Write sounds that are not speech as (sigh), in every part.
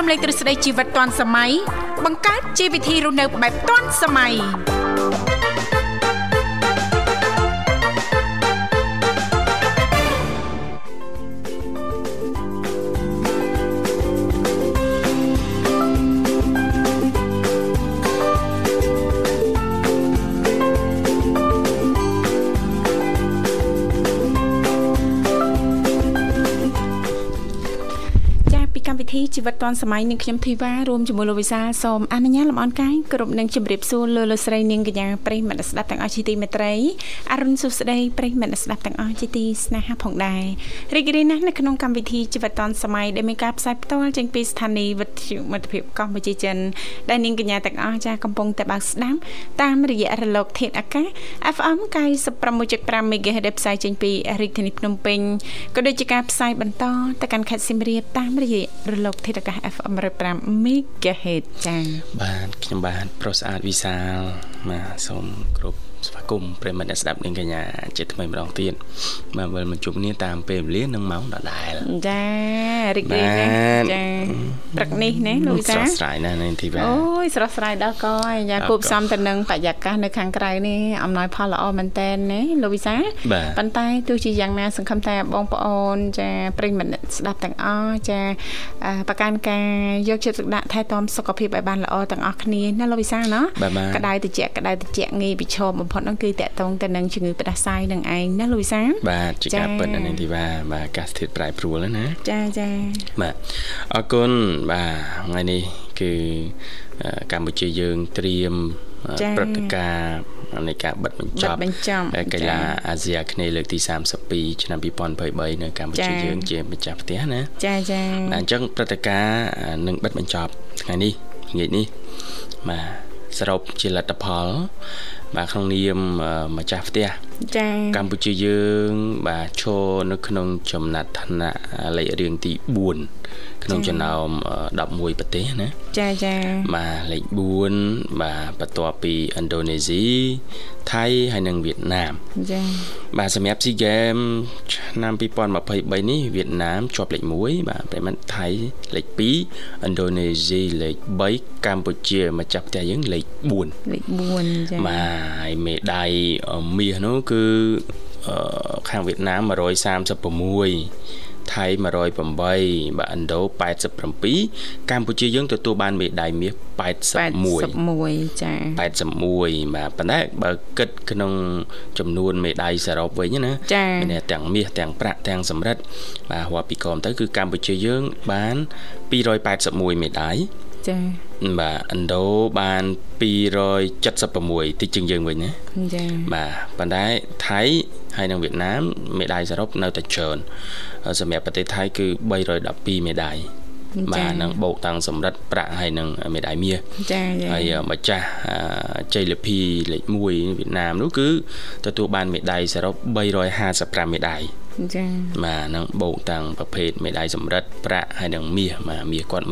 រំលែកទ្រឹស្ដីជីវិតទាន់សម័យបង្កើតជីវវិធីរស់នៅបែបទាន់សម័យចាពីកម្មវិធីជីវិតទាន់សម័យនឹងខ្ញុំធីវ៉ារួមជាមួយលោកវិសាលសូមអនុញ្ញាតលំអរកាយគ្រប់នឹងជម្រាបសួរលោកលោកស្រីនាងកញ្ញាប្រិយមិត្តអ្នកស្ដាប់ទាំងអស់ជាទីមេត្រីអរុនសុខស្ដីប្រិយមិត្តអ្នកស្ដាប់ទាំងអស់ជាទីស្នេហាផងដែររីករាយណាស់នៅក្នុងកម្មវិធីជីវិតទាន់សម័យដែលមានការផ្សាយផ្ទាល់ចេញពីស្ថានីយ៍វិទ្យុមិត្តភាពកម្ពុជាចិនដែលនាងកញ្ញាទាំងអស់ចាកំពុងតែបើកស្ដាប់តាមរយៈរលកធាតុអាកាស FM 96.5 MHz ដែលផ្សាយចេញពីរាជធានីភ្នំពេញក៏ដូចជាការផ្សាយបន្តទៅកាន់ខេត្តសៀមរាបតាមរយៈរលកធាតុអាកាស FM 105 MHz ចា៎ បាទខ្ញុំបាទប្រុសស្អាតវិសាលបាទសូមគ្រប់ស្វាគមន៍ប្រិយមិត្តអ្នកស្ដាប់នាងកញ្ញាជាថ្មីម្ដងទៀតបាទវិលមកជួបគ្នាតាមពេលវេលានិងម៉ោងដដែល ចារីករាយណាស់ បាទ ចាព្រឹកនេះណាលោកវិ ស្រ សា ស់ស្រាយណាស់នាងធីវ៉ា អូយស្រស់ស្រាយដល់កហើយយ៉ា ដល់ក គូផ្សំទៅនឹងបរិយាកាសនៅខាងក្រៅនេះអំណោយផលល្អមែនតើណាលោកវិសាល បាទ ប៉ុន្តែទោះជាយ៉ាងណាសង្ឃឹមថាបងប្អូន ចាប្រិយមិត្តអ្នកស្ដាប់ទាំងអស់ចាអ่าប្រកាន់ការយកចិត្តទុកដាក់ថែទាំសុខភាពឲ្យបានល្អទាំងអស់គ្នាណាលោកវិសាលណា បាទបាទ ក្តៅត្រជាក់ក្តៅត្រជាក់ងាយប្រឈមបំផុតហ្នឹងគឺតកតងទៅនឹងជំងឺផ្ដាសាយនឹងឯងណាលូយសា បាទជា ចា៎ ការពិតណាស់នាងធីវ៉ាបាទអាកាសធាតុប្រែប្រួលណា ចាចា បាទអរគុណបាទថ្ងៃនេះគឺអឺកម្ពុជាយើងត្រៀមអឺព្រឹត្តិការណ៍នៃការបិទបញ្ច បា ប់ ត់បញ្ចំ ឯកីឡាអាស៊ីអាគ្នេយ៍លើកទី32ឆ្នាំ2023នៅកម្ពុជា ចា៎ យើងជាម្ចាស់ផ្ទះណា ចាចា បាទអញ្ចឹងព្រឹត្តិការណ៍អានឹងបិទបញ្ចប់ថ្ងៃនេះថ្ងៃនេះបាទសរុបជាលទ្ធផល បាទក្នុងនាមអឺម្ចាស់ផ្ទះ ចា កម្ពុជាយើងបាទឈរនៅក្នុងចំណាត់ថ្នាក់លេខរៀងទី4ក្នុងចំណោមអឺ11ប្រទេសណា ចាចា បាទលេខ4បាទបន្ទាប់ពីឥណ្ឌូនេស៊ីថៃហើយនិងវៀតណាម ចា បាទសម្រាប់ SEA Games ឆ្នាំ2023នេះវៀតណាមជាប់លេខ1បាទប្រហែលថៃលេខ2ឥណ្ឌូនេស៊ីលេខ3កម្ពុជាមួយចាប់ផ្ទះយើងលេខ4 លេខ4ចា បាទហើយមេដាយមាសនោះគឺអឺខាងវៀតណាម136ថៃ108បាទឥណ្ឌូ87កម្ពុជាយើងទទួលបានមេដាយមាស81 81ចា 81បាទប៉ុន្តែបើគិតក្នុងចំនួនមេដាយសរុបវិញណា ចា មានន័យថាទាំងមាសទាំងប្រាក់ទាំងសំរិទ្ធបាទរាប់ពីក្រោមទៅគឺកម្ពុជាយើងបាន281មេដាយ ចា បាទឥណ្ឌូបាន276តិចជាងយើងវិញណា ចា បាទប៉ុន្តែថៃហើយនិងវៀតណាមមេដាយសរុបនៅតែច្រើនសម្រាប់ប្រទេសថៃគឺ312មេដាយបាទនឹងបូកតាំងសំរិទ្ធប្រាក់ហើយនិងមេដាយមាស ចាចា ហើយអ่ะម្ចាស់អាជ័យលាភីលេខ1វៀតណាមនោះគឺទទួលបានមេដាយសរុប355មេដាយ ចា បាទហ្នឹងបូកតាំងប្រភេទមេដាយសំរិទ្ធប្រាក់ហើយនិងមាសបាទមាសគាត់136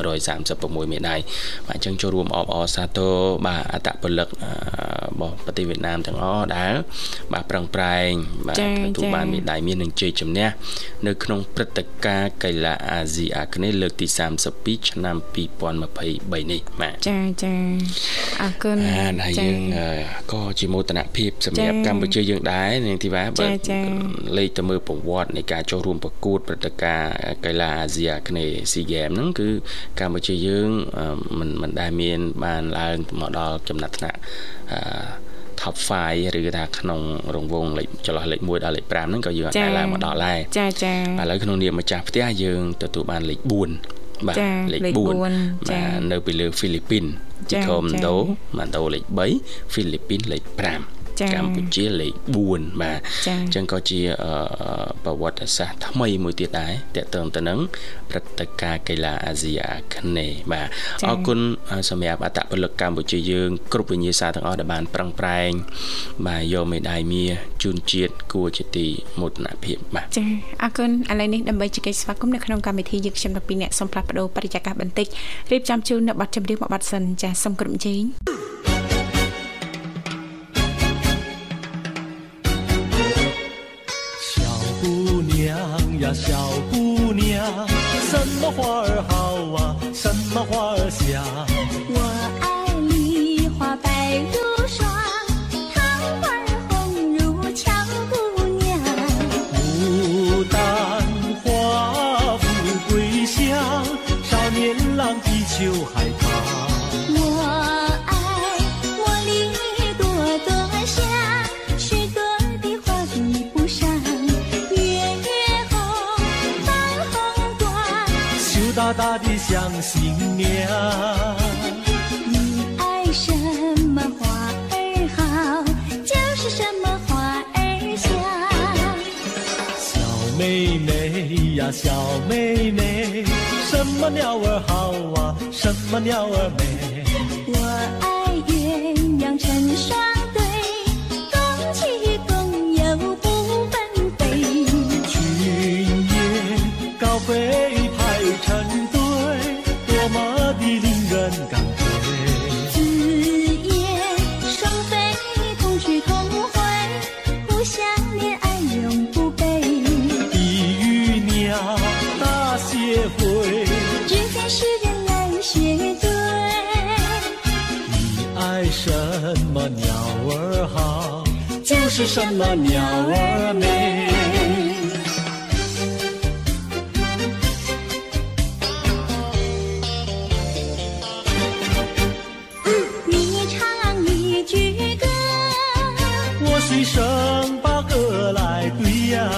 មេដាយបាទអញ្ចឹងចូលរួមអបអរសាទរបាទអត្តពលិកអ่าរបស់ប្រទេសវៀតណាមទាំងអស់ដែលបាទប្រឹងប្រែងបាទទទួលបានមេដាយមាសនិងជ័យជំនះនៅក្នុងព្រឹត្តិការណ៍កីឡាអាស៊ីអាគ្នេយ៍លើកទី32ឆ្នាំ2023នេះបាទ ចាចាអរគុណ បាទហើយយើងអឺក៏ជាមោទនភាពសម្រាប់ ចា៎ កម្ពុជាយើងដែរនាងធីវ៉ាបើ ចា៎ចា៎ លេខទៅមើលប្រវត្តិនៃការចូលរួមប្រកួតព្រឹត្តិការណ៍កីឡាអាស៊ីអាគ្នេយ៍ SEA Games ហ្នឹងគឺកម្ពុជាយើងអឺមិនមិនដែលមានបានឡើងមកដល់ចំណាត់ថ្នាក់អឺ top 5ឬថាក្នុងរង្វង់លេខចន្លោះលេខ1ដល់លេខ5ហ្នឹងក៏យើងអាច ចា៎ ដែលឡើងមកដល់ដែរ ចាចា ឥឡូវក្នុងនាមម្ចាស់ផ្ទះយើងទទួលបានលេខ4បាទ ចា លេខ លេខ 4 4 បា ចា ទនៅពីលើហ្វីលីពីន ចា ទីខម ចា ដូម៉ាដូលេខ3ហ្វីលីពីនលេខ ចា 5កម្ពុជាលេខ4បាទ ចា អញ្ចឹងក៏ជាអឺប្រវត្តិសាស្ត្រថ្មីមួយទៀតដែរតកតងទៅនឹងព្រឹត្តិការណ៍កីឡាអាស៊ីអាគ្នេយ៍បាទអរគុណអឺសម្រាប់អត្តពលិកកម្ពុជាយើង គ្រប់វិញ្ញាសាទាំងអស់ដែលបានប្រឹងប្រែង បាទយកមេដាយមាសជូនជាតិគួរជាទីមោទនភាពបាទ ចាអរគុណឥឡូវនេះដើម្បីជែកស្វាគមន៍នៅក្នុងកម្មវិធីយើងខ្ញុំតាំងពីអ្នកសូមផ្លាស់ប្ដូរបរិយាកាសបន្តិចរៀបចំជូននៅប័ណ្ណចម្រៀងមួយប័ណ្ណសិនចាសូមក្រុមជេង 小姑娘呀，小姑娘，什么花儿好啊？什么花儿香？我爱梨花白如霜，桃花红如俏姑娘。牡丹花，富贵香，少年郎的秋海棠。我爱茉莉朵朵香，是个的花比不上。月红，半红光，羞答答的像新娘，你爱什么花儿好，就是什么花儿香。小妹妹呀，小妹妹，什么鸟儿好啊，什么鸟儿美。我爱鸳鸯成双对，共栖共游不分飞。群雁高飞排成队，多么的令人感慨。子夜双飞，同去同回，互相恋爱永不悲。碧玉鸟，大谢会，只见诗人来学对，你爱什么鸟儿好，就就是是什什么么鸟鸟儿儿美。美。你唱一句歌，我随身把歌来对呀、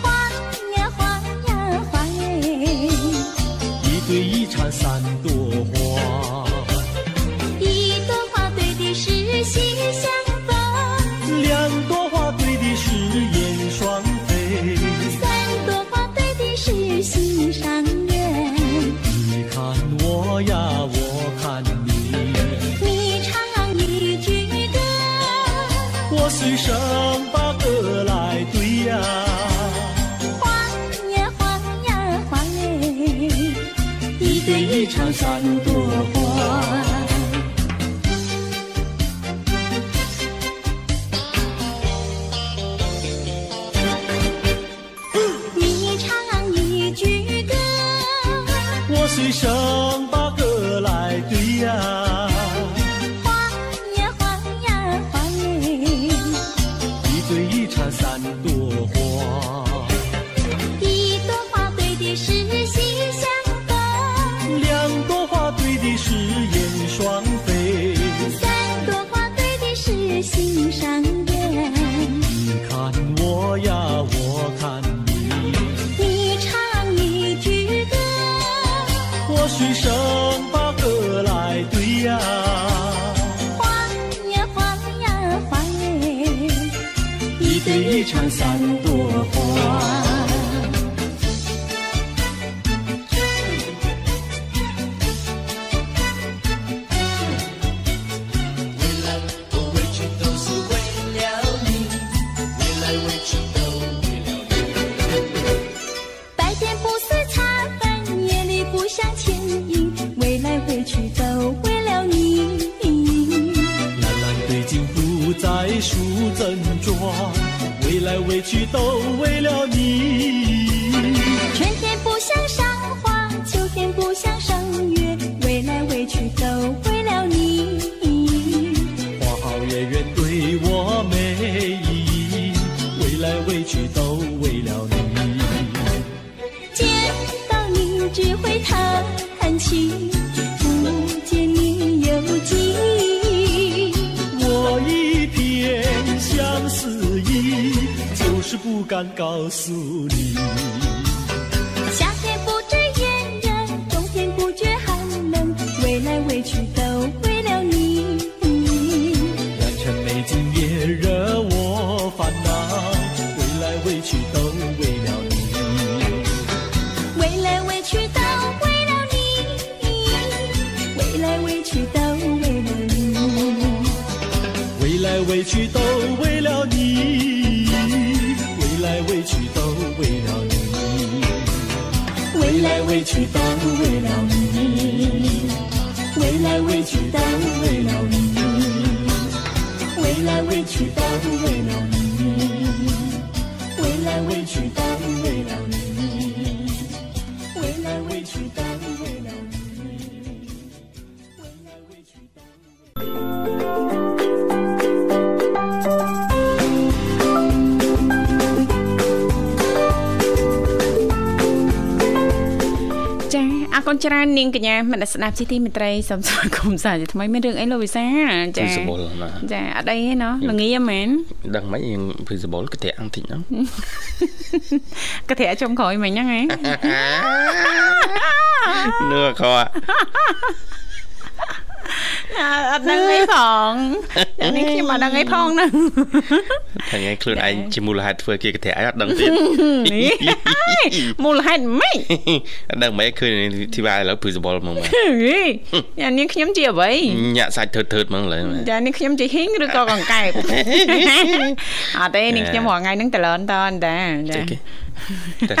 晃呀晃呀晃哎，一对一缠三朵花，一朵花对的是喜相逢，两朵花对的是燕双飞。三朵花对的是心上人。你看我呀，我看你，你唱一句歌，我随身把歌来对呀、晃呀晃呀晃哎，一对一唱三朵花。你唱一句歌，我随身把歌来对呀、晃呀晃呀晃哎。一对一唱三朵花，一朵花对的是喜相逢，两朵花对的是燕双飞。三朵花对的是心上人。你看我呀，我看你，你唱一句歌，我随身把歌来对呀、晃呀晃呀晃哎，一对一唱三朵花。白天不思茶饭，夜里不想牵引，未来回去都为了你。蓝蓝的金不在梳正装，为来为去都为了你。春天不想赏花，秋天不想赏月，为来为去都为了你。花好月圆对我美意，为来为去都为了你。见到你只会叹气，不见你又记。我一片相思意，就是不敢告诉你。夏天不知炎热，冬天不觉寒冷，为来为去都为了你。良辰美景也惹我烦恼，为来为去都为了你。为来为去都为了你，为来为去都为了你。为来为去都为了你，为来为去都为了你，为来为去都为了你，为来为去都为了你，为来为去都为了你，为来为去都为了你，为来为去都为了 ចាអរគុណច្រើននាងកញ្ញាមនស្សស្ដាប់ជីទីមិត្តរីសូម (laughs) ស្វាគមន៍សារជាថ្មីមានរឿងអីលោកវិសា ភី ចា សបុលណា ចាអត់អីទេណោះល្ងាមែន ដឹងមិនយើងភីសបុលកាត្រាក់បន្តិចហ្នឹង កាធាក់ចុងក្រោយមិញហ្នឹងហ៎ (laughs) នឿខោ ណាអត់ដឹងអីផងយ៉ាងនេះខ្ញុំអត់ដឹងអីផងហ្នឹង ថ្ងៃខ្លួនឯងជាមូលហេតុធ្វើគេកន្ត្រាក់ឯងអត់ដឹង (laughs) ទៀត នេះហើយមូលហេតុម៉េច អត់ដឹងមិនឯងឃើញធីវ៉ាឥឡូវព្រឺសបុលហ្មងបាទ ហីយ៉ាងនេះខ្ញុំជាអ្វី ញ៉ាក់សាច់ធឺតធឺតហ្មងឥឡូវបាទ យ៉ាងនេះខ្ញុំជាហ៊ីងឬក៏កង្កែប អត់ទេនេះខ្ញុំរងថ្ងៃហ្នឹងតលនតនតាចា ចេះគេ (laughs) តែ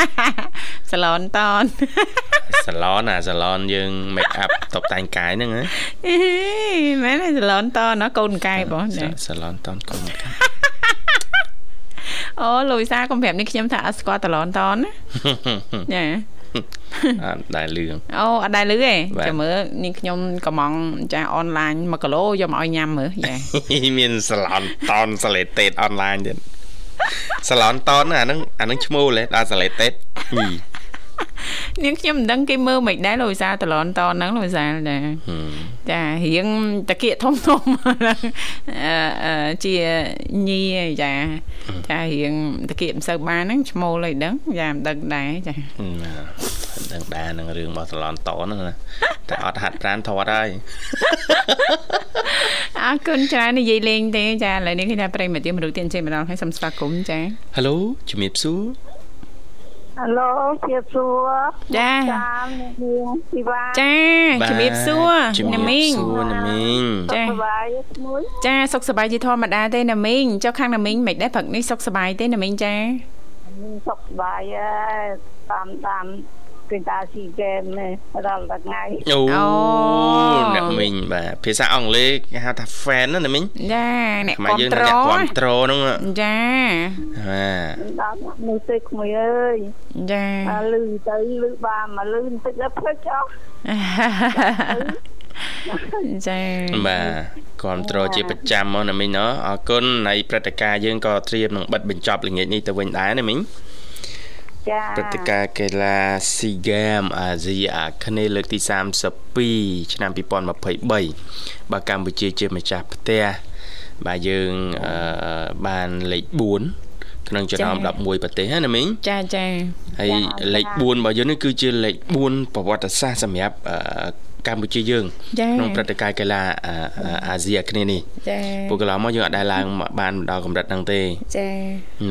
សឡនត (laughs) ន សាឡនអាសាឡនយើង make up (laughs) តុបតែងកាយហ្នឹងណា ហេមែនទេសឡនតនណាកូនកង្កែបហ៎ចា សាឡនតនកូនកា អូលូយសាកុំប្រាប់នេះខ្ញុំថាអត់ស្គាល់តលនតនណាចា (laughs) អត់ដែលលឿង (laughs) អូអត់ដែរលឺទេ បាទ ចាំមើលនេះខ្ញុំកំងចាអនឡាញ1គីឡូយកមកឲ្យញ៉ាំមើល (laughs) ចា មានសាឡនតនសាឡេតេតអនឡាញទៀតសាឡនតនអាហ្នឹងអាហ្នឹងឈ្មោះលេដល់សាឡេតេ (laughs) តហ៊ី នាងខ្ញុំមិនដឹងគេមើលមិនដែរលោកវិសាលតឡនតនហ្នឹងលោកវិសាលចាចាហឹមរៀងតាគៀកធំ (laughs) ធំហ្នឹងអឺអឺជាញីឯងចាចារៀងតាគៀកមិនសូវបានហ្នឹងឈ្មោលអីដឹងចាមិនដឹងដែរចា ណាដឹងដែរនឹងរឿងរបស់សាឡនតហ្នឹងណាតែអត់ហាត់ប្រានថតហើយ អរគុណច្រើននិយាយលេងទេចាឥឡូវនេះគេថាប្រិយមិត្តយើងមនុស្សទៀតអញ្ជើញម្ដងហើយសូមស្វាគមន៍ចា ហេឡូជំរាបសួរ អាឡូជាសួរ ចា តាមនាងជីវ៉ា ចាជំរាបសួរ ជំរា ណា ប មីង សួរណាមីង សុ ចា ខសប្បាយទេមួយ ចាសុខសប្បាយជាធម្មតាទេណាមីងចុះខាងណាមីងមិនដែរព្រឹកនេះសុខសប្បាយទេណាមីងចា មានសុខសប្បាយហើយតាមតាមពីតាស៊ីហ្គេមនេះរាល់ថ្ងៃ អូ អូ អ្នកមីងបាទភាសាអង់គ្លេសគេហៅថា fan ណាណាមីង ចាអ្នក ខ្មែរ គាំ យើង ទ្រ ថាអ្នកគ្រប់ត្រហ្នឹងណា ចា បាទ ដល់នោះទេក្មួយអើយ ចា អាលឺទៅលឺបានមកលឺបន្តិចដល់ភ្លេចអស់ (laughs) ចា បាទគ្រប់ត្រជាប្រចាំមកណាមីងណអរគុណហើយព្រឹត្តិការណ៍យើងក៏ត្រៀមនឹងបិទបញ្ចប់ល្ងាចនេះទៅវិញដែរណាមីង ចា ព្រឹត្តិការណ៍កីឡា SEA Games អាស៊ីអាគ្នេយ៍លើកទី32ឆ្នាំ2023បើកម្ពុជាជាម្ចាស់ផ្ទះបាទយើងអឺបានលេខ4ក្នុងចំណោម11ប្រទេសហ្នឹងណាមីង ចាចា ហើយលេខ4របស់យើងនេះគឺជាលេខ4ប្រវត្តិសាស្ត្រសម្រាប់អឺកម្ពុជាយើង ចា ក្នុងព្រឹត្តិការណ៍កីឡាអឺអឺអាស៊ីអាគ្នេយ៍នេះ ចា ពួកកន្លងមកយើងអាចដែរឡើងមកបានដល់កម្រិតហ្នឹងទេ ចា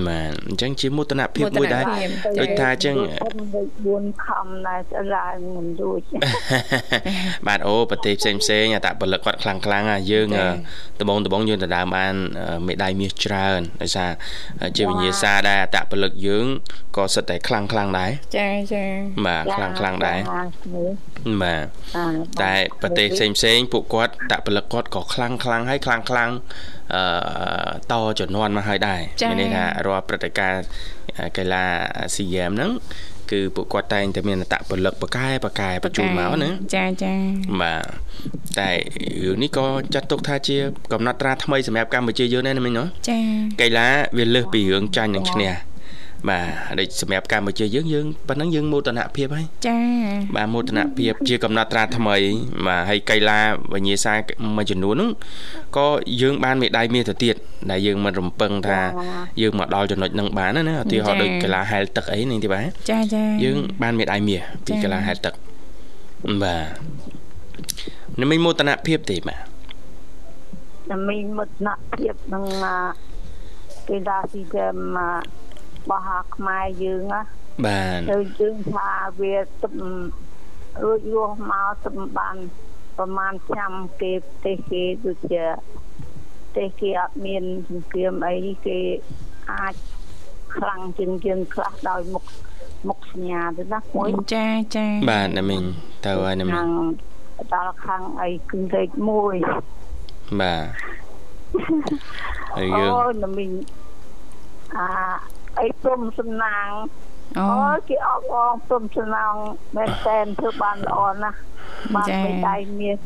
បាទអញ្ចឹងជាមោទនភាពមួយដែរ ដូចថាអញ្ចឹង លេខ4ខំដែរស្អីឡើងមិនរួ (laughs) ច បាទអូប្រទេសផ្សេងផ្សេងអតពលិកគាត់ខ្លាំងខ្លាំងណាស់យើងដំបងដំបងយើងដណ្ដើមបានអឺមេដាយមាសច្រើនដោយសារអឺជាវិញ្ញាសាដែរអតពលិកយើងក៏សិតតែខ្លាំងខ្លាំងដែរ ចាចា បាទខ្លាំងខ្លាំងដែរ ចានេះ បាទតែប្រទេសផ្សេងផ្សេងពួកគាត់អតពលិកគាត់ក៏ខ្លាំងខ្លាំងហើយខ្លាំងខ្លាំងអឺតចំនួនមកហើយដែរមានន័យថារាល់ព្រឹត្តិការណ៍អឺកីឡា SEA Games ហ្នឹងគឺពួកគាត់តែងតែមានអតពលិកប្រកែប្រកែបញ្ជូនមកណា ចាចា បាទតែរឿងនេះក៏ចាត់ទុកថាជា កំណត់ត្រាថ្មីសម្រាប់កម្ពុជាយើងដែរណាមិញណា ចា កីឡាវាលើសពីរឿងចាញ់និងឈ្នះបាទដូចសម្រាប់កម្ពុជាយើងយើងប៉ុណ្ណឹងយើងមោទនភាពហើយ ចា បាទមោទនភាពជាកំណត់ត្រាថ្មីបាទហើយកីឡាវិញ្ញាសាមួយចំនួនហ្នឹងក៏យើងបានមេដាយមាសទៅទៀតដែលយើងមិនរំពឹងថាយើងមកដល់ចំណុចហ្នឹងបានណាណាឧទាហរណ៍ដូចកីឡាហែលទឹកអីហ្នឹងទេបាទ ចាចា យើងបានមេដាយមាសពីកីឡាហែលទឹកបាទនឹងមិនមោទនភាពទេបាទ តែមានមុតណាក់ភាពនឹងអា à, គេដាស៊ីហ្គេមអាបោះអាខ្មែរយើងណា បាទ ទៅយើងថាវាទឹករួចរស់មកទឹកបានប្រហែលឆ្នាំគេប្រទេសគេដូចជាប្រទេសគេអត់មានសង្គ្រាមអីគេអាចខ្លាំងជាងយើងខ្លះដោយមុខមុខសញ្ញាទៅណាមួយ ចាចា បាទណាមិញទៅហើយណាមិញ ខាងដល់ខាងអីគឺលេខ1 បាទហើយ អូ យើង នមីងអាអីព្រមសំណាង អូ អូយគេអបអងព្រមសំណាងមែនតែនធ្វើបានល្អណាស់បាន ចា៎ មេដៃមាស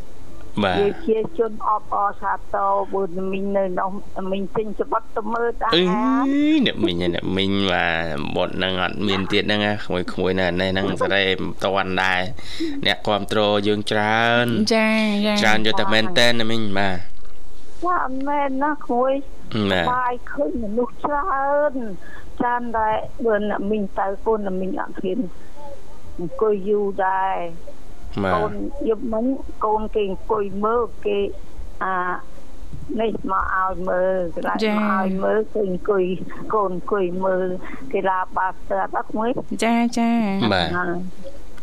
បាទ វាជាជនអបអរសាទរបើមីងនៅនោះមីងពេញច្បត់ទៅមើលតា អឺ អា អ្នកមីងឯអ្នកមីងបាទបត់ហ្នឹងអត់មានទៀតហ្នឹងណាក្មួយក្មួយណានេះហ្នឹងសេរីមិនតាន់ដែរអ្នកគ្រប់គ្រងយើងច្រើន ចាចា ច្រើនយកតែមែនតែនណាមីងបាទ ចាអត់មែនណាក្មួយ ណា បាយឃើញមនុស្សច្រើនចាំតែបើអ្នកមីងទៅកូនអ្នកមីងអត់ហ៊ានអង្គុយយូរដែរ បា កូ ទ នយប់មិញកូនគេអង្គុយមើលគេអានេះមកឲ្យមើលគេឡាមកឲ្យមើលគេអង្គុយកូនអង្គុយមើលគេឡាបាត់ស្អាតអត់មួយ ចាចា បាទ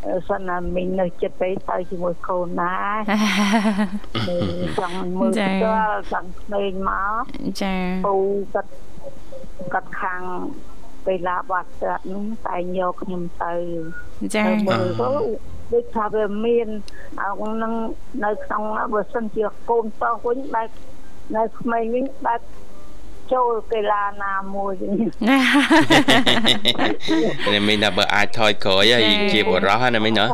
អាសិនណាមីងនៅចិត្តពេកទៅជាមួយកូនដែរចង់មើលស្គាល់ចង់ស្នេហ៍មក ចា ពូកាត់កាត់ខាងពេលឡាបាត់ស្អាតនោះតែងយកខ្ញុំទៅ ចា ទៅមើលទៅដូចថាវាមានអង្គនឹងនៅក្នុងហ្នឹងបើសិនជាកូនតោះវិញបែបនៅក្មេងវិញបែបចូលកីឡាណាមួយវិញ (laughs) ណា (laughs) អ្នកមីងថាបើអាចថយក្រោយហើយជាបរោះណាមីងណា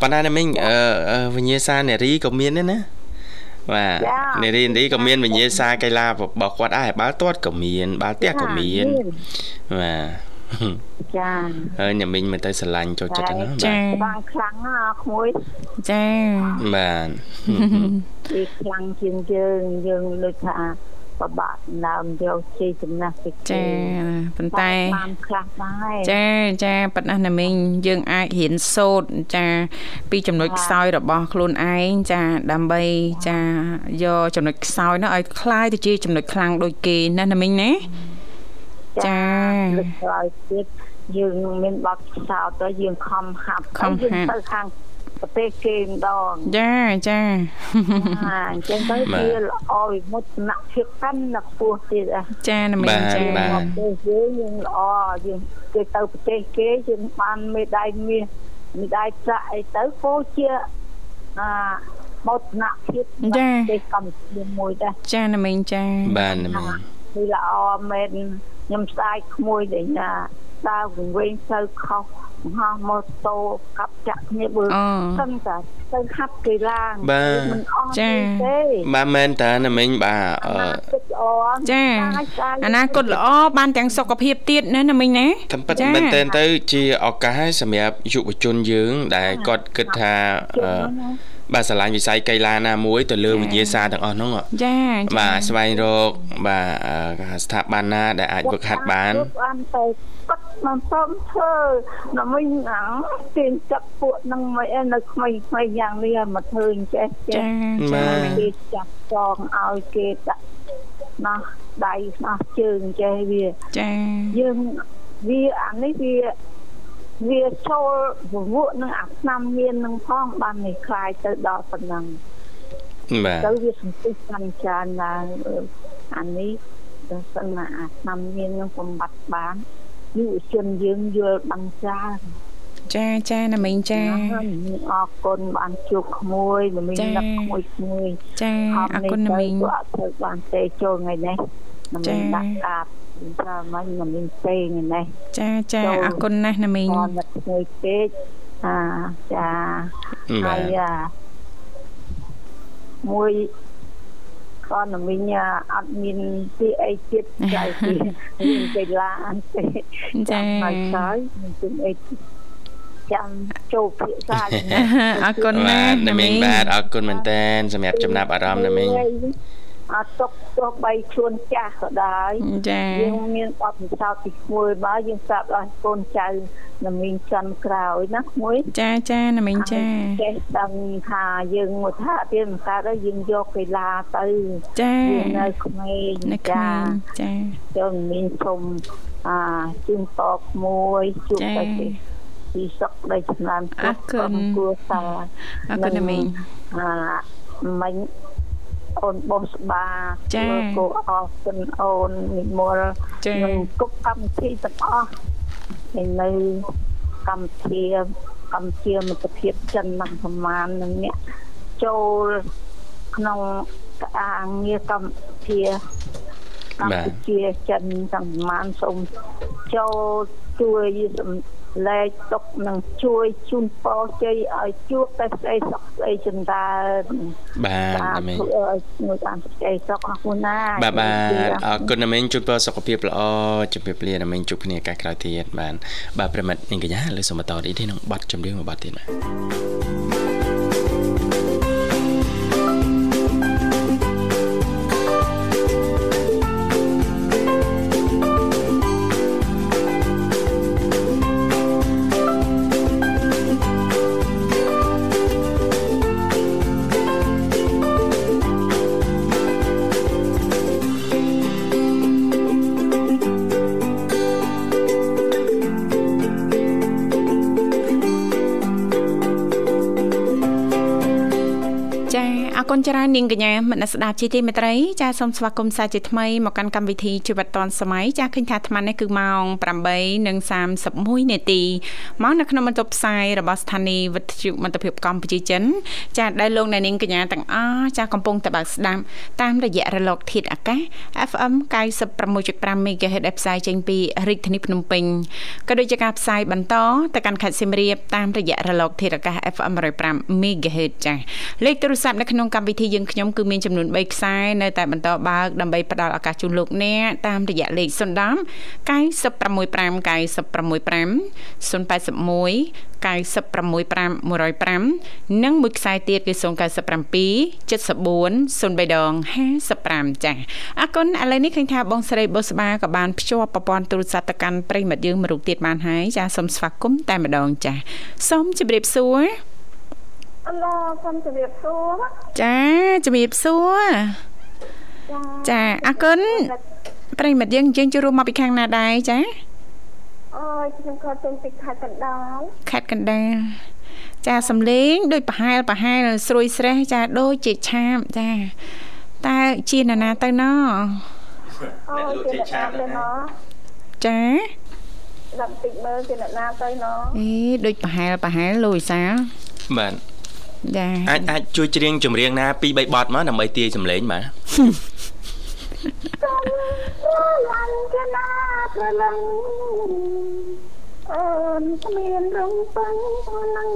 ប៉ុន្តែអ្នកមីងអឺអឺវិញ្ញាសានារីក៏មានដែរណាបាទនារីនារីក៏មានវិញ្ញាសាកីឡារបស់គាត់ដែរបាល់ទាត់ក៏មានបាល់ទះក៏មានបាទ ចា ហើយអ្នកមីងមិនទៅស្រឡាញ់ចូលចិត្តហ្នឹងណា ចា បានខ្លាំងណាស់ក្មួយ ចា បាទ វាខ្លាំងជាងយើងយើងដូចថាបបាក់ដើមយកជ័យចំណាស់ពីគេ ចាប៉ុន្តែ បានខ្លះដែរ ចាចាប៉ណ្ណោះណាមីងយើងអាចរៀនសូត្រចា ពីចំណុចខ្សោយរបស់ខ្លួនឯងចា ដើម្បីចាយកចំណុចខ្សោយនោះឲ្យคล้ายទៅជាចំណុចខ្លាំងដូចគេណាណាមីងណា ចា លើកក្រោយទៀតយើងមានបទពិសោធន៍ទៅយើងខំហាត់ ខំហាត់ យើងទៅខាងប្រទេសគេម្ដង ចាចា អាអញ្ចឹងទៅវាល្អវិមុតនភាពកាន់ណាស់ពោះទៀតអា (laughs) ចាណាមីង បាទ ចា បាទ ប្រទេសយើងយើងល្អយើងគេទៅប្រទេសគេយើងបានមេដាយមាសមេដាយប្រាក់អីទៅពោលជាអាមោទនភាពរបស់ប្រទេសកម្ពុជាមួយដែរ ចាណាមីងចា (laughs) បាទអ្នកមីង វាល្អមែនខ្ញុំស្ដាយក្មួយដែរណាដើរវិញទៅខុសហោះម៉ូតូកាប់ចាក់គ្នាបើ អូ សិនតែទៅហាត់កីឡាមិនអស់ទេទេ បាទមែនតើអ្នកមីងបាទអឺ ចា អនាគតល្អបានទាំងសុខភាពទៀតណាណាមីងណា តាមពិត ចា៎ មែនតើទៅជាឱកាសហើយសម្រាប់យុវជនយើង ដែលគាត់គិត (laughs) ថាអឺបាទស្រឡាញ់វិស័យកីឡាណាមួយទៅលើវិញ្ញាសាទាំងអស់ហ្នឹងហ៎ ចាចា បាទស្វែងរកបាទអឺស្ថាប័នណាដែលអាចវឹកហាត់បាន បានទៅគាត់មិនសមធ្វើដល់មិញអងទាញចាប់ពួកនឹងមិនអីនៅក្មេងៗយ៉ាងនេះឲ្យមកធ្វើអញ្ចេះចេះ ចាចាបាទ គេចាប់ចងឲ្យគេដាក់ណោះដៃណោះជើងអញ្ចេះវា ចា យើងវាអានេះវាវាចូលពវក់នឹងអាឆ្នាំមាននឹងផងបាននេះคลายទៅដល់ប៉ុណ្ណឹង បាទ ទៅវាសន្តិសុខច្រើនឡើងអឺអានេះបើសិនណាអាឆ្នាំមាននឹងបំបត្តិបានយុវជនយើងយល់បានច្រើន ចាចាណាមីងចា ហើយមានអរគុណបានជួបក្មួយមិនមាន ចា៎ ដឹកក្មួយក្មួយ ចាអរគុណណាមីង អត់ធ្វើបានទេចូលថ្ងៃនេះមិន ចា៎ មានដាក់កាតថាមិនមិនមានទេថ្ងៃនេះ ចាចាអរគុណណាស់ណាមីង អត់ដឹកក្មួយពេកអាចា បា ហើ ទ យអាមួយគាត់នមីងអាអត់មានទីអីទៀតចៅពី មានកីឡាអត់ទេ ចា ហើយឆ្លើយមានទីអីទៀតចាំចូលភាសាជាមួយ អរគុណណា បា ស់ណាទអ្នកមី មី ង ង បាទអរគុណមែនតើសម្រាប់ចំណាប់អារម្មណ៍អ្នកមីង អត់ຕົកទោះបីខ្លួនចាស់ក៏ដោយ ចា យើងមានបទពិសោធន៍ពីក្មួយបើយើងស្រាប់ដល់កូនចៅនមីងច័ន្ទក្រោយណាក្មួយ ចាចាណាមីងចា ចេះដឹងថាយើងមកថាទៀតមិនកើតហើយយើងយកកីឡាទៅ ចា យើងនៅក្មេង នៅក្មេងចា ចូលមានសុំអាជូនតបមួយជួប ចា៎ តែទីពីសក់ដូចឆ្នាំ អរគុណ ក្រុមគ្រួសារ អរគុណណាមីង អាមិញអូនបងស្បា ចា៎ ធ្វើគូអស់គុណអូននិមល ចា៎ នឹងគប់កម្មវិធីទាំងអស់ហើយនៅកម្ពុជាកម្ពុជាមិត្តភាពចិនមកប្រមាណនឹងអ្នកចូលក្នុងការងារកម្ពុជា កម្ បាទ ពុជាចិនទាំងប្រមាណសូមចូលជួយសម្លែកទុកនិងជួយជូនពរជ័យឲ្យជួបតែស្អីសុខស្អីចម្រើន បាទណាមីង ជួយឲ្យជួយតាមសេចក្ដីសុខរបស់ខ្លួនណា បាទបាទ អ អ រ រគុណណាមីងជួយពរសុខភាពល្អជំរាបលាណាមីងជួបគ្នាឱកាសក្រោយទៀតបាទបាទប្រិមិត្តនាងកញ្ញាលើសូមបន្តរីករាយនឹងប័ណ្ណចម្រៀងមួយប័ណ្ណទៀតបាទ ចាអរគុណច្រើននាងកញ្ញាមនស្សស្ដាប់ជាទីមេត្រីចាសូមស្វាគមន៍សាជាថ្មីមកកាន់កម្មវិធីជីវិតឌွန်សម័យចាឃើញថាអាត្មានេះគឺម៉ោង8:31នាទីមកនៅក្នុងបន្ទប់ផ្សាយរបស់ស្ថានីយ៍វិទ្យុមិត្តភាពកម្ពុជាចិន ចាដែលលោកអ្នកនាងកញ្ញាទាំងអស់ចាកំពុងតបស្ដាប់តាមរយៈរលកធាតុអាកាស FM 96.5 MHz ដែលផ្សាយចេញពីរាជធានីភ្នំពេញក៏ដូចជាការផ្សាយបន្តទៅកាន់ខេត្តសៀមរាបតាមរយៈរលកធាតុអាកាស FM 105 MHz ចាស់លេខទូរស័ព្ទនៅក្នុងកម្មវិធីយើងខ្ញុំគឺមានចំនួន3ខ្សែនៅតែបន្តបើកដើម្បីផ្ដល់ឱកាសជូនលោកអ្នកតាមរយៈលេខ010 965965 081 965105និងមួយខ្សែទៀតគឺ097 74 03ដង55ចាស់អរគុណឥឡូវនេះឃើញថាបងស្រីបុស្បាក៏បានភ្ជាប់ប្រព័ន្ធទូរស័ព្ទទៅកាន់ប្រិមិត្តយើងមួយរូបទៀតបានហើយចាសូមស្វាគមន៍តែម្ដងចាសូមជម្រាបសួរ ឡូសូមជម្រាបសួរ ចាជម្រាបសួរចាអរគុណប្រិមិត្តយើងយើងជួបរួមមកពីខាងណាដែរចា អូយខ្ញុំគាត់ចេញពីខេត្តកណ្ដាល ខេត្តកណ្ដាលចាសំលេងដូចប្រហែលប្រហែលស្រួយស្រេះចាដូចជាឆាបចាតើជានរណាទៅណោ អូយជាអ្នកណាទៅណោះ ចា ដល់តិចមើលជាអ្នកណាទៅណោះ អេដូចប្រហែលប្រហែលលោកវិសាល បាទ ចា អាចអាចជួយច្រៀងចម្រៀងណា2 3បទមកដើម្បីទាយសម្លេងបាទ អូយអញជាណាប្រឡងអូនគ្មានរំពឹងអូននឹង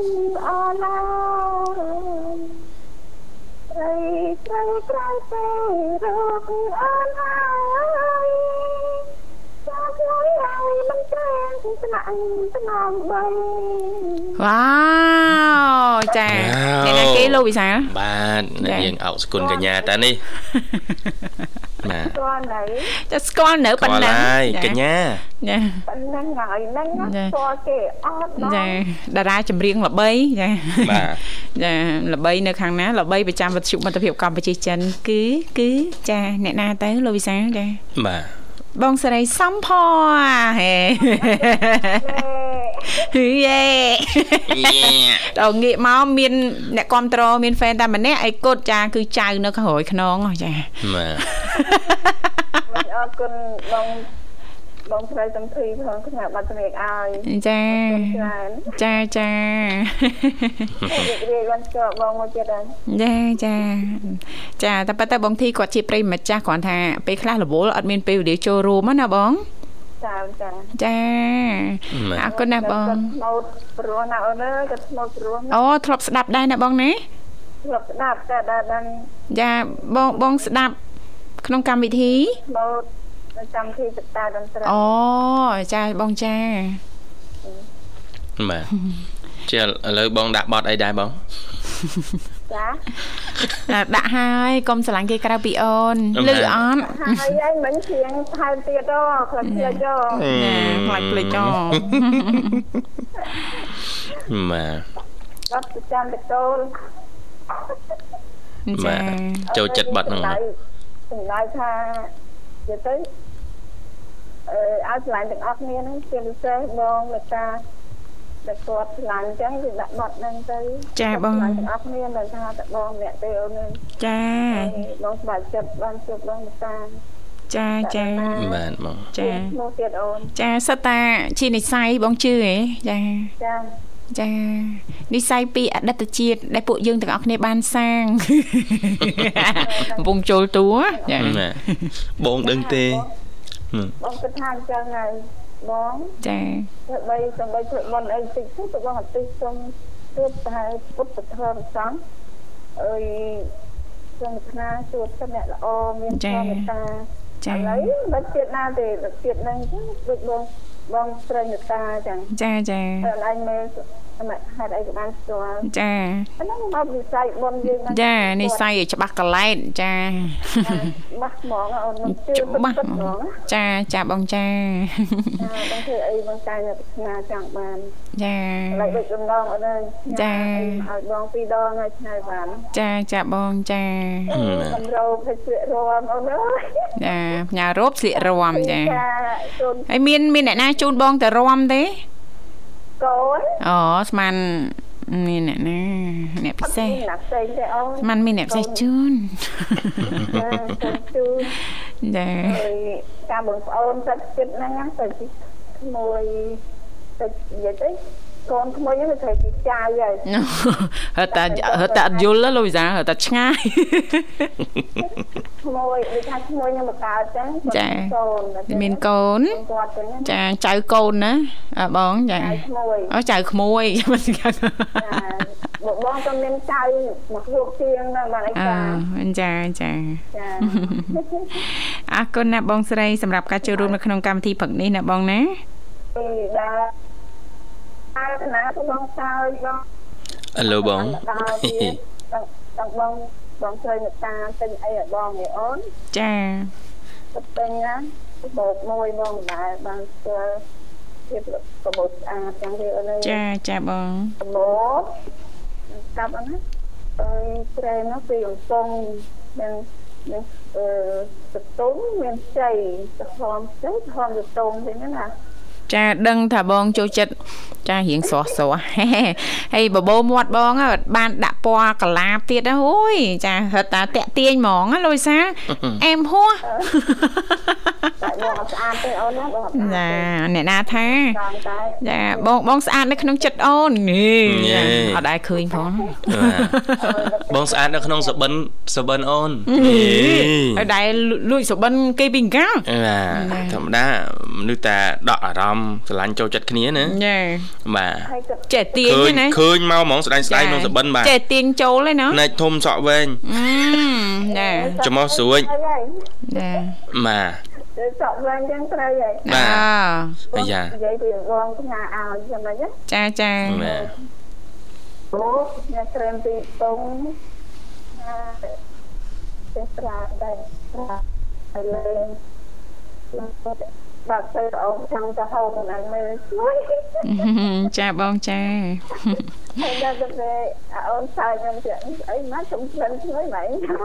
អរឡើយអីត្រូវក្រោយទៅរកអូនហើយចាំខ្លួនហើយមិនទេស្នាក់ស្នងបី វ៉ាវចាអ្នកណាគេលោកវិសាល បាទអ្នកយើងអោកសុគន្ធកញ្ញាតា (laughs) នេះបាទ ទាន់ហើយ ចាស្គាល់នៅប៉ុណ្ណឹង ស្គាល់ហើយកញ្ញា ចា ប៉ុណ្ណឹងហើយហ្នឹងណាស្គាល់គេអត់ដល់ ចាតារាចម្រៀងល្បីចា បាទ ចាល្បីនៅខាងណាល្បីប្រចាំវិទ្យុមិត្តភាពកម្ពុជាចិន គឺគឺចាអ្នកណាទៅលោកវិសាលចា បាទ បងសេរីសំផអហេយេ (laughs) ដល់ងាកមកមានអ្នកគ្រប់តរមានហ្វេនតែម្នាក់ឯកុតចាគឺចៅនៅខាងរយខ្នងហ៎ចា (laughs) បាទ (laughs) អរគុណបងបងស្រីសំភីផងផ្នែកបាត់ជំនាញឲ្យ ចា ច្រើន ចាចា រីករាយបានជួបបងមកទៀតហើយ ចាចាចាតែប៉ុន្តែបងធីគាត់ជាប្រិយមិត្តចាស់គ្រាន់ថាពេលខ្លះរវល់អត់មានពេលវេលាចូលរួមហ្នឹងណាបង តាមចា ចា បាទ អរគុណណាបង គាត់ស្មោតព្រោះណាអូនអើយគាត់ស្មោតព្រោះ អូធ្លាប់ស្ដាប់ដែរណាបងណា ស្លាប់ស្ដាប់តែដល់ដល់ ចាបងបងស្ដាប់ក្នុងកម្មវិធី ស្មោតនៅចាំទីសតាដល់ត្រឹម អូចាបងចា (laughs) បាទជាឥឡូវបងដាក់បទអីដែរបង ចា ដាក់ហើយកុំស្រឡាញ់គេក្រៅពីអូនលឺអត់ ហើយឯងមិនធៀងថែមទៀតអូខ្លះទៀតអូ ណាខ្លាចភ្លេចចោ (laughs) ល បាទ គាត់ប្រចាំតូល បាទចូលចិត្តបទហ្នឹងមក ចំណាយថានិយាយទៅអឺឲ្យឆ្លាញ់ទាំងអស់គ្នាហ្នឹងជាពិសេសបងលោកតាដែលគាត់ឆ្លាញ់អញ្ចឹងគឺដាក់បត់ហ្នឹងទៅ ចាបង ឆ្លាញ់ទាំងអស់គ្នាមិនថាតែបងម្នាក់ទេអូនទេ ចា បងស្ម័គ្រចិត្តបានជួបបងលោកតា ចាចា បាទបង ចា ឈ្មោះទៀតអូន ចាសិតតាជានិស័យបងជឿហ៎ចា ចា ចានិស័យពីអតីតជាតិដែលពួកយើងទាំងអស់គ្នាបានសាង កំពុងចូលតួចា ណាបងដឹងទេហឹម បងគិតថាអញ្ចឹងហើយបង ចា ធ្វើបីសំបីធ្វើមុនអីតិចទៅបងអត់ទេសុំទើបតែពុទ្ធធម៌សំអើយសំខាជួបតែអ្នកល្អមានធម៌តា ចា ឥឡូវមិនទៀតណាទេទៀតហ្នឹងចឹងដូចបងបងត្រឹងតាចឹង ចាចា តែឯងមើលហេតុអីក៏បានស្គាល់ ចា ហ្នឹងមកវិស័យបុណ្យយើងហ្នឹង ចានិស័យឲ្យច្បាស់កលែតចា (laughs) បាក់ហ្មងអូនមិនជឿ ច្បាស់ ពិតៗហ្មង ចាចាបងចា (laughs) ចាបងធ្វើអីបងតែអ្នកប្រាថ្នាចង់បាន ចា ឡែកដូចដំណងអូនអើយ ចា ឲ្យបងពីរដងឲ្យឆ្នៃបាន ចាចាបងចា កម្រោភេជ្ជៈរមអូនអើយ ចាផ្ញើរូបស្លៀករំចា ជូន ហើយមានមានអ្នកណាជូនបងទៅរំទេ កូន អូស្មានមានអ្នកណាអ្នកពិសេស អត់មានណាផ្សេងទេអូន ស្មានមានអ្នកពិសេសជូន (laughs) ចាសូមជូន ចា ឲ្យតាមបងប្អូនទឹកចិត្តហ្នឹងណាទៅទីក្មួយទឹកនិយាយទៅកូនក្មួយហ្នឹងវាត្រូវជាចៅហើយ ហៅតាហៅតាអត់យល់ទេលូយសាហៅតាឆ្ងាយ ឈ្មោះដូចថាឈ្មោះខ្ញុំមកកើតចឹង ចា កូន (laughs) មានកូន គាត់ចឹងណា ចាចៅកូនណាអ่ะបងចា ចៅឈ្មោះ អូចៅក្មួយ (laughs) មិនស្គាល់ ចាបងក៏មានចៅមកគ្រប់ទៀងដែរបានអី អ ចា ឺចាចា ចា អរគុណណាបងស្រីសម្រាប់ការចូលរួមនៅក្នុងកម្មវិធីព្រឹកនេះណាបងណា ពីដល់អានណាទៅបងចៅបង អឡូបង (laughs) ដល់ទៀតដល់បងបងស្រីមេត្តាទិញអីឲ្យបងឯអូន ចា ទៅទិញណាបោកមួយបងដែរបានស្គាល់ភាពប្រមូលស្អាតចឹងទេអូនឯង ចាចាបង ដំបូងស្ដាប់អត់ណាអឺត្រែនោះពីកំពង់មានមានអឺសតុងមានចៃសខំចៃខំសតុងទេណាណា ចាដឹងថាបងចូលចិត្តចារៀងស្រស់ស្រស់ ហើយបបោមាត់បងហ្នឹងបានដាក់ពណ៌កលាបទៀតណាអូយចាហិតតាតាក់ទាញហ្មងណាលូយសាអែមហួស តែបងអត់ស្អាតទេអូនណាបងអត់ស្អា ណា ត អ្នកណាថា ទេចាំតែ ចាបងបងស្អាតនៅក្នុងចិត្តអូននេះចាអត់ដែរឃើញផង បាទបងស្អាតនៅក្នុងសបិនសបិនអូន អត់ដែរលួចសបិនគេពីកាល បាទធម្មតាមនុស្សតែដកអារម្មណ៍ស្រឡាញ់ចូលចិត្តគ្នាណា ចា បាទ ហើយគិត ចេះទាញ ឃើញ ណា ឃើញមកហ្មងស្ដែងស្ដែងក្នុងសបិនបាទ ចេះទាញចូលឯណោះ ណែកធំសក់វែង ចា ចំមកស្រួយ ហើយហើយ ចា បាទ ទៅសក់ឡើងចឹងត្រូវហើយ បា អ ទ ឺ អាយ៉ា និយាយពីបងផ្ញើឲ្យចឹងហ្នឹងណា ចាចា បាទ អូអ្នកត្រែមពីកំពង់ណាចេះប្រាដែរប្រាហើយលេងបាក់ទៅអងចង់ទៅហូបហ្នឹងមើលជួយ (laughs) ចាបងចា ហើយដល់ទៅពេលអាអូនសើចខ្ញុំទៀតអីមកសុំព្រឹងជួយម៉េចខ្ញុំ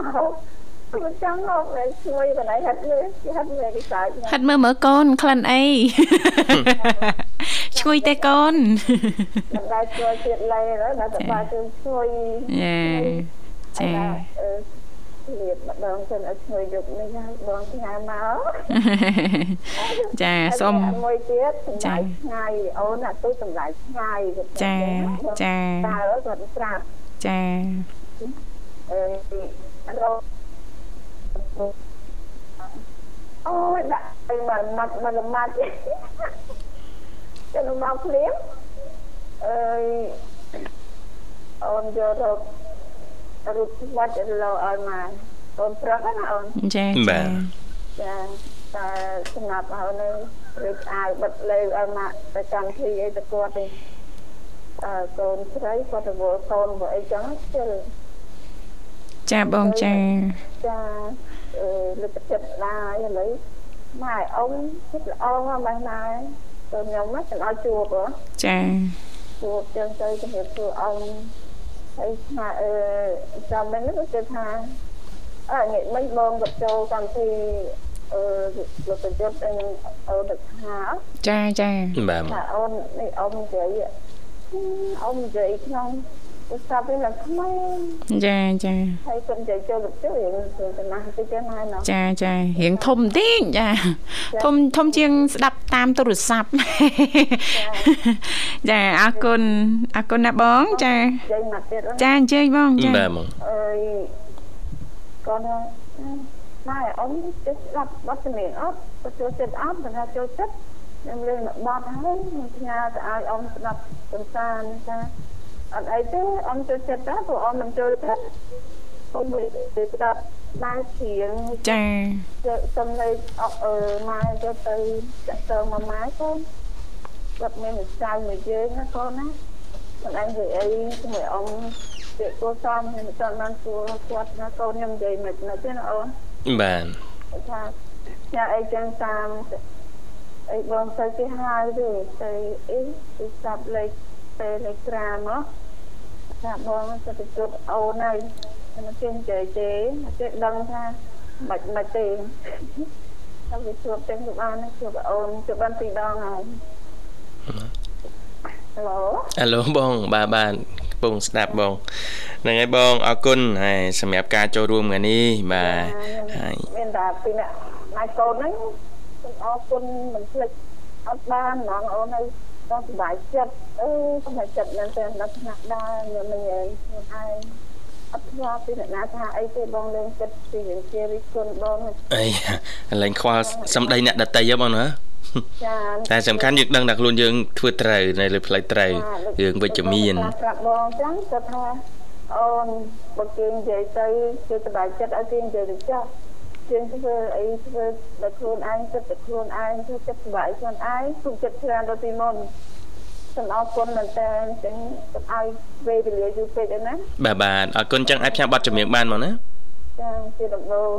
ចង់ហូបតែជួយបណ្ដៃហិតលើហិតលើគេសើចខ្ញុំ ហិតមើលមើលកូនក្លិនអី (laughs) ឈ្ងុយទេកូន (laughs) បណ្ដៃជួយទៀតលេហើយដល់ទៅបាទជួយជួយ ចាចា អឺលៀតម្ដងសិនឲ្យជួយយកនេះណាបងផ្ញើមក ចាសុំ មួយទៀតសម្រាប់ថ្ងៃអូនអាទូសម្រាប់ថ្ងៃ ចាចា តើគាត់ប្រាប់ ចា អឺរកអូយដាក់ឲ្យមកម៉ាត់មកម៉ាត់ចូលមកភ្លាមអើយអូនយករករូបវត្តរកឲ្យមកអូនប្រឹងណាអូន ចា បាទ ចាតែសម្រាប់ឲ្យនៅរឹកអាវបិទលើឲ្យមកប្រចាំទីអីទៅគាត់ទេអើកូនស្រីគាត់ទៅវល់កូនវល់អីចឹងជិល ចាបងចា ចាអឺលើកចិត្តឡាយឥឡូវម៉ែអង្គចិត្តល្អណាស់ម៉ែម៉ែទៅខ្ញុំណាចង់ឲ្យជួបហ៎ ចា ជួបចឹងទៅជំរាបសួរអង្គហើយស្មាអឺចាំមិនហ្នឹងគឺថាអើងាកមិនបងទៅចូលកម្មវិធីអឺលោកប្រយុទ្ធអីហ្នឹងអូនទៅថា ចាចា បាទ ថាអូននេះអង្គនិយាយអង្គនិយាយក្នុង ទៅស្រាប់ពេលឡើងថ្មី ចាចា ហើយខ្ញុំចង់ចូលលោកជួយរឿងចំណាស់តិចទៅណាណោះ ចាចារៀងធំបន្តិចចាធំធំជាងស្ដាប់តាមទូរស័ព្ទ (laughs) ចាអរគុណអរគុណណាបងចា និយាយមកទៀតអូន ចាអញ្ជើញបងចា បាទបង អើយកូនម៉ែអូនចេះស្ដាប់បទសម្លេងអត់បើចូលចិត្តអត់បើណាចូលចិត្តខ្ញុំលេងបទហើយខ្ញុំផ្ញើទៅឲ្យអូនស្ដាប់សំសានចាអត់អីទេអូនចូលចិត្តដែរព្រោះអូនមិនចូលចិត្តអូនមិនទៅស្ដាប់ដែរជាង ចា យកសំឡេងអកអឺម៉ែយកទៅចាក់ទៅមកម៉ែកូនគាត់មានម្ចាស់មួយយើងណាកូនណាមិនដឹងនិយាយអីជាមួយអ៊ំជាគូសំខ្ញុំមិនចង់បានគូគាត់ណាកូនខ្ញុំនិយាយមិនណាទេណាអូន បាទ ថាញ៉ាអីចឹងតាមអីបងទៅគេហៅទេទៅអីទៅសាប់លេខ Telegram មកថាបងទៅទៅជួបអូនហើយខ្ញុំចេះនិយាយទេគេដឹងថាមិនមិនទេខ្ញុំទៅជួបទាំងជួបបានជួបអូនជួបបានពីរដងហើយហឡូ អា (laughs) ឡូបង បាទបាទកំពងស្ដាប់បងហ្នឹងហើយបងអរគុណហើយសម្រាប់ការចូលរួមថ្ងៃនេះបាទហើយ មានតែពីរនាក់ណៃកូនហ្នឹងខ្ញុំអរគុណមិនភ្លេចអត់បានហ្មងអូនហើយគាត់សុបាយចិត្តអឺសុបាយចិត្តមែនទែនដល់ថ្នាក់ដែរខ្ញុំមិនញ៉ែខ្លួនឯងអត់ខ្វល់ពីអ្នកណាថាអីទេបងលេងចិត្តពីរឿងជារិទ្ធគុណបង អី (laughs) ឡើងខ្វល់សំដីអ្នកដតីហ៎បងណា ចា តែសំខាន់យើងដឹងថាខ្លួនយើងធ្វើត្រូវនៅលើផ្លូវត្រូវរឿងវិជ្ជមាន ប្រាប់បងចឹងគាត់ថាអូនបើគេនិយាយទៅគេសប្បាយចិត្តឲ្យគេនិយាយទៅចាស់ជាងធ្វើអីធ្វើដល់ខ្លួនឯងចិត្តតែខ្លួនឯងធ្វើចិត្តសប្បាយខ្លួនឯងទុកចិត្តច្រើនដល់ពីមុនសូមអរគុណមែនតើអញ្ចឹងសូមឲ្យវេទលាយូរពេកអីណា បាទបាទអរគុណចឹងអាចផ្សាយប័ណ្ណចម្រៀងបានមកណា ចាជាដំបូង